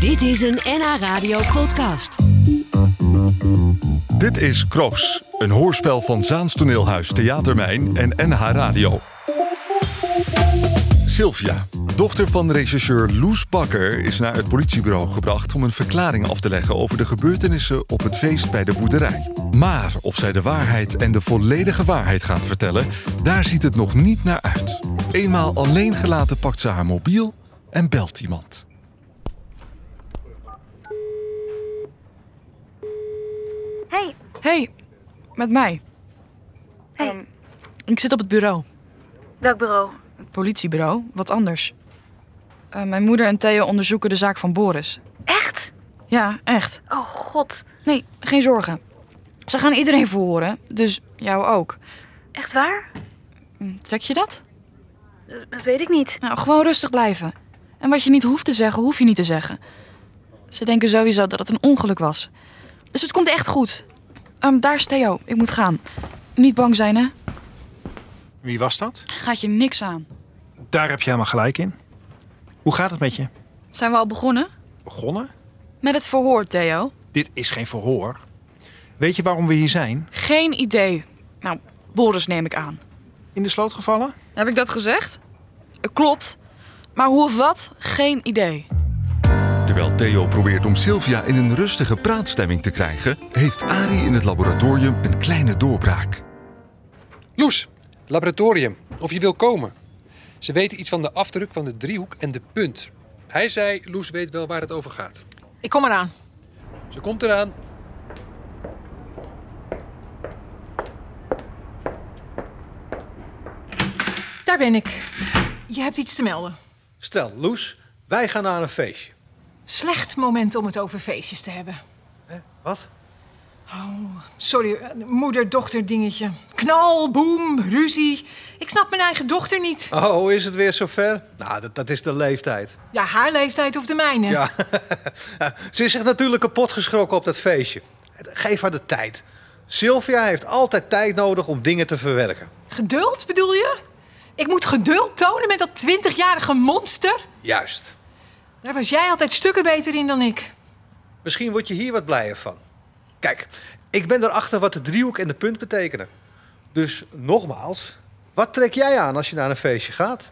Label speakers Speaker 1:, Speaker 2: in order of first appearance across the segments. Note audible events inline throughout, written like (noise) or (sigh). Speaker 1: Dit is een NH Radio podcast.
Speaker 2: Dit is Kroos, een hoorspel van Zaans Toneelhuis Theatermijn en NH Radio. Sylvia, dochter van regisseur Loes Bakker, is naar het politiebureau gebracht om een verklaring af te leggen over de gebeurtenissen op het feest bij de boerderij. Maar of zij de waarheid en de volledige waarheid gaat vertellen, daar ziet het nog niet naar uit. Eenmaal alleen gelaten pakt ze haar mobiel en belt iemand.
Speaker 3: Hey,
Speaker 4: Hey, met mij.
Speaker 3: Hey.
Speaker 4: Ehm, ik zit op het bureau.
Speaker 3: welk bureau?
Speaker 4: Het politiebureau, wat anders. Eh, mijn moeder en Theo onderzoeken de zaak van Boris.
Speaker 3: Echt?
Speaker 4: Ja, echt.
Speaker 3: Oh god,
Speaker 4: Nee, geen zorgen. Ze gaan iedereen verhoren, dus jou ook.
Speaker 3: echt waar?
Speaker 4: Hm, Trek je dat?
Speaker 3: Dat, dat weet ik niet.
Speaker 4: Nou, gewoon rustig blijven. En wat je niet hoeft te zeggen, hoef je niet te zeggen. Ze denken sowieso dat het een ongeluk was. Dus het komt echt goed. Ehm, daar is Theo, ik moet gaan. Niet bang zijn, hè?
Speaker 5: Wie was dat?
Speaker 4: Gaat je niks aan.
Speaker 5: Daar heb je helemaal gelijk in. Hoe gaat het met je?
Speaker 4: Zijn we al begonnen?
Speaker 5: Begonnen?
Speaker 4: Met het verhoor, Theo.
Speaker 5: Dit is geen verhoor. Weet je waarom we hier zijn?
Speaker 4: Geen idee. Nou, Boris neem ik aan.
Speaker 5: In de sloot gevallen?
Speaker 4: Heb ik dat gezegd? Eh, Klopt. Maar hoe of wat? Geen idee.
Speaker 2: Terwijl Theo probeert om Sylvia in een rustige praatstemming te krijgen, heeft Ari in het laboratorium een kleine doorbraak.
Speaker 6: Loes, laboratorium, of je wil komen. Ze weten iets van de afdruk van de driehoek en de punt. Hij zei, Loes weet wel waar het over gaat.
Speaker 7: Ik kom eraan.
Speaker 6: Ze komt eraan.
Speaker 7: Daar ben ik. Je hebt iets te melden.
Speaker 8: Stel, Loes, wij gaan naar een feestje.
Speaker 7: Slecht moment om het over feestjes te hebben.
Speaker 8: Wat?
Speaker 7: Sorry, eh, moeder-dochter dingetje. Knal, boem, ruzie. Ik snap mijn eigen dochter niet.
Speaker 8: Oh, is het weer zover? Nou, dat, dat is de leeftijd.
Speaker 7: Ja, haar leeftijd of de mijne.
Speaker 8: Ja. Ze is zich natuurlijk kapot geschrokken op dat feestje. Geef haar de tijd. Sylvia heeft altijd tijd nodig om dingen te verwerken.
Speaker 7: Geduld bedoel je? Ik moet geduld tonen met dat twintigjarige monster?
Speaker 8: Juist.
Speaker 7: Daar was jij altijd stukken beter in dan ik.
Speaker 8: Misschien word je hier wat blijer van. Kijk, ik ben erachter wat de driehoek en de punt betekenen. Dus nogmaals, wat trek jij aan als je naar een feestje gaat?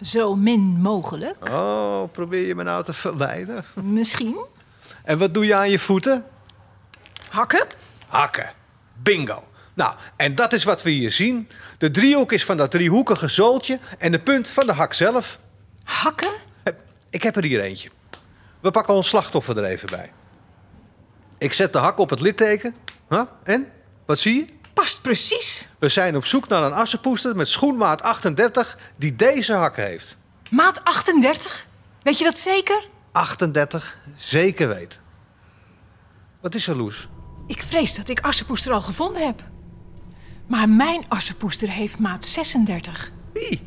Speaker 7: Zo min mogelijk.
Speaker 8: Oh, probeer je me nou te verleiden.
Speaker 7: Misschien.
Speaker 8: (laughs) En wat doe je aan je voeten?
Speaker 7: Hakken.
Speaker 8: Hakken. Bingo. Nou, en dat is wat we hier zien. De driehoek is van dat driehoekige zooltje en de punt van de hak zelf.
Speaker 7: Hakken?
Speaker 8: Eh, Ik heb er hier eentje. We pakken ons slachtoffer er even bij. Ik zet de hak op het litteken. Huh? En? Wat zie je?
Speaker 7: Past precies.
Speaker 8: We zijn op zoek naar een assenpoester met schoenmaat 38 die deze hak heeft.
Speaker 7: Maat 38. Weet je dat zeker?
Speaker 8: 38, zeker weten. Wat is er, Loes?
Speaker 7: Ik vrees dat ik assenpoester al gevonden heb. Maar mijn assenpoester heeft maat 36.
Speaker 8: Wie?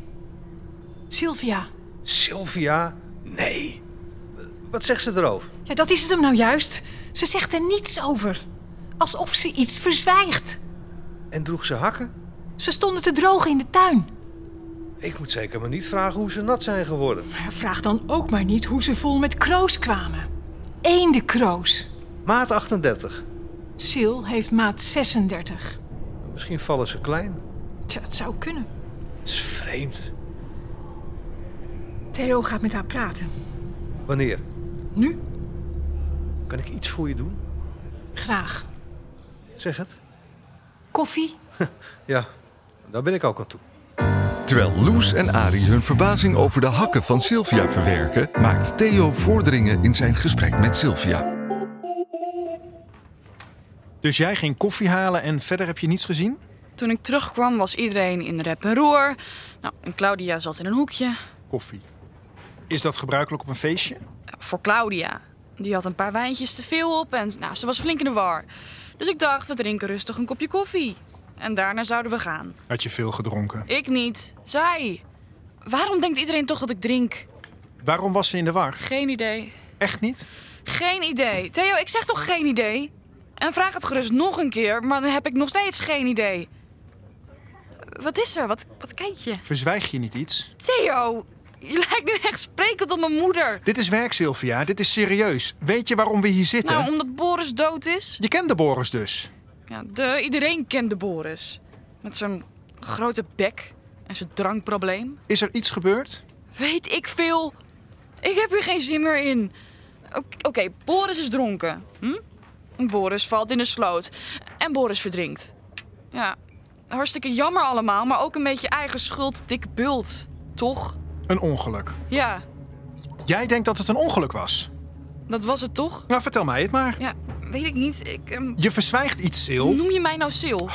Speaker 7: Sylvia,
Speaker 8: Sylvia? Nee. Wat zegt ze erover?
Speaker 7: ja, dat is het hem nou juist. Ze zegt er niets over. Alsof ze iets verzwijgt.
Speaker 8: En droeg ze hakken?
Speaker 7: Ze stonden te drogen in de tuin.
Speaker 8: Ik moet zeker maar niet vragen hoe ze nat zijn geworden.
Speaker 7: Maar vraag dan ook maar niet hoe ze vol met kroos kwamen. Eendekroos.
Speaker 8: Maat 38.
Speaker 7: Sil heeft maat 36.
Speaker 8: Misschien vallen ze klein.
Speaker 7: Tja, het zou kunnen.
Speaker 8: Het is vreemd.
Speaker 7: Theo gaat met haar praten.
Speaker 8: Wanneer?
Speaker 7: Nu?
Speaker 8: Kan ik iets voor je doen?
Speaker 7: Graag.
Speaker 8: Zeg het.
Speaker 7: Koffie?
Speaker 8: (laughs) Ja, daar ben ik ook aan toe.
Speaker 2: Terwijl Loes en Ari hun verbazing over de hakken van Sylvia verwerken, maakt Theo vorderingen in zijn gesprek met Sylvia.
Speaker 5: Dus jij ging koffie halen en verder heb je niets gezien?
Speaker 4: Toen ik terugkwam was iedereen in rep en roer. Nou, en Claudia zat in een hoekje.
Speaker 5: Koffie. Is dat gebruikelijk op een feestje?
Speaker 4: Voor Claudia. Die had een paar wijntjes te veel op en nou, ze was flink in de war. Dus ik dacht, we drinken rustig een kopje koffie. En daarna zouden we gaan.
Speaker 5: Had je veel gedronken.
Speaker 4: Ik niet. Zij. Waarom denkt iedereen toch dat ik drink?
Speaker 5: Waarom was ze in de war?
Speaker 4: Geen idee.
Speaker 5: Echt niet?
Speaker 4: Geen idee. Theo, ik zeg toch geen idee? En vraag het gerust nog een keer, maar dan heb ik nog steeds geen idee. Wat is er? Wat, wat kijk je?
Speaker 5: Verzwijg je niet iets?
Speaker 4: Theo, Je lijkt nu echt sprekend op mijn moeder.
Speaker 5: Dit is werk, Sylvia. Dit is serieus. Weet je waarom we hier zitten?
Speaker 4: Nou, omdat Boris dood is.
Speaker 5: Je kent de Boris dus.
Speaker 4: Ja, de, iedereen kende Boris. Met zijn grote bek en zijn drankprobleem.
Speaker 5: Is er iets gebeurd?
Speaker 4: Weet ik veel. Ik heb hier geen zin meer in. Oké, oké, Boris is dronken. Hm? Boris valt in een sloot. En Boris verdrinkt. Ja, hartstikke jammer allemaal, maar ook een beetje eigen schuld, dikke bult. Toch?
Speaker 5: Een ongeluk.
Speaker 4: Ja,
Speaker 5: Jij denkt dat het een ongeluk was.
Speaker 4: dat was het toch?
Speaker 5: Nou, vertel mij het maar.
Speaker 4: Ja, weet ik niet. Ik, ehm,
Speaker 5: Je verzwijgt iets, Sil.
Speaker 4: noem je mij nou Sil? Oké,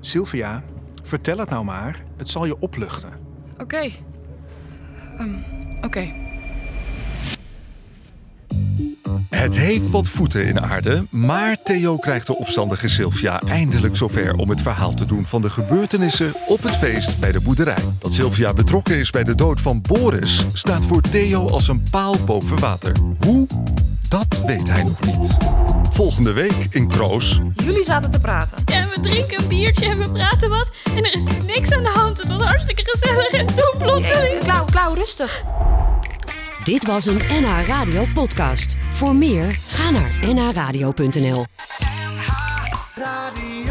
Speaker 5: Sylvia, vertel het nou maar. Het zal je opluchten.
Speaker 4: Ehm, oké.
Speaker 2: Het heeft wat voeten in aarde, maar Theo krijgt de opstandige Sylvia eindelijk zover om het verhaal te doen van de gebeurtenissen op het feest bij de boerderij. Dat Sylvia betrokken is bij de dood van Boris staat voor Theo als een paal boven water. Hoe? Dat weet hij nog niet. Volgende week in Kroos.
Speaker 4: Jullie zaten te praten.
Speaker 9: En we drinken een biertje en we praten wat. En er is niks aan de hand. Het was hartstikke gezellig. En toen plotseling...
Speaker 4: Klauw, Klauw, rustig.
Speaker 1: Dit was een NH Radio podcast. Voor meer, ga naar nhradio.nl.
Speaker 10: Radio.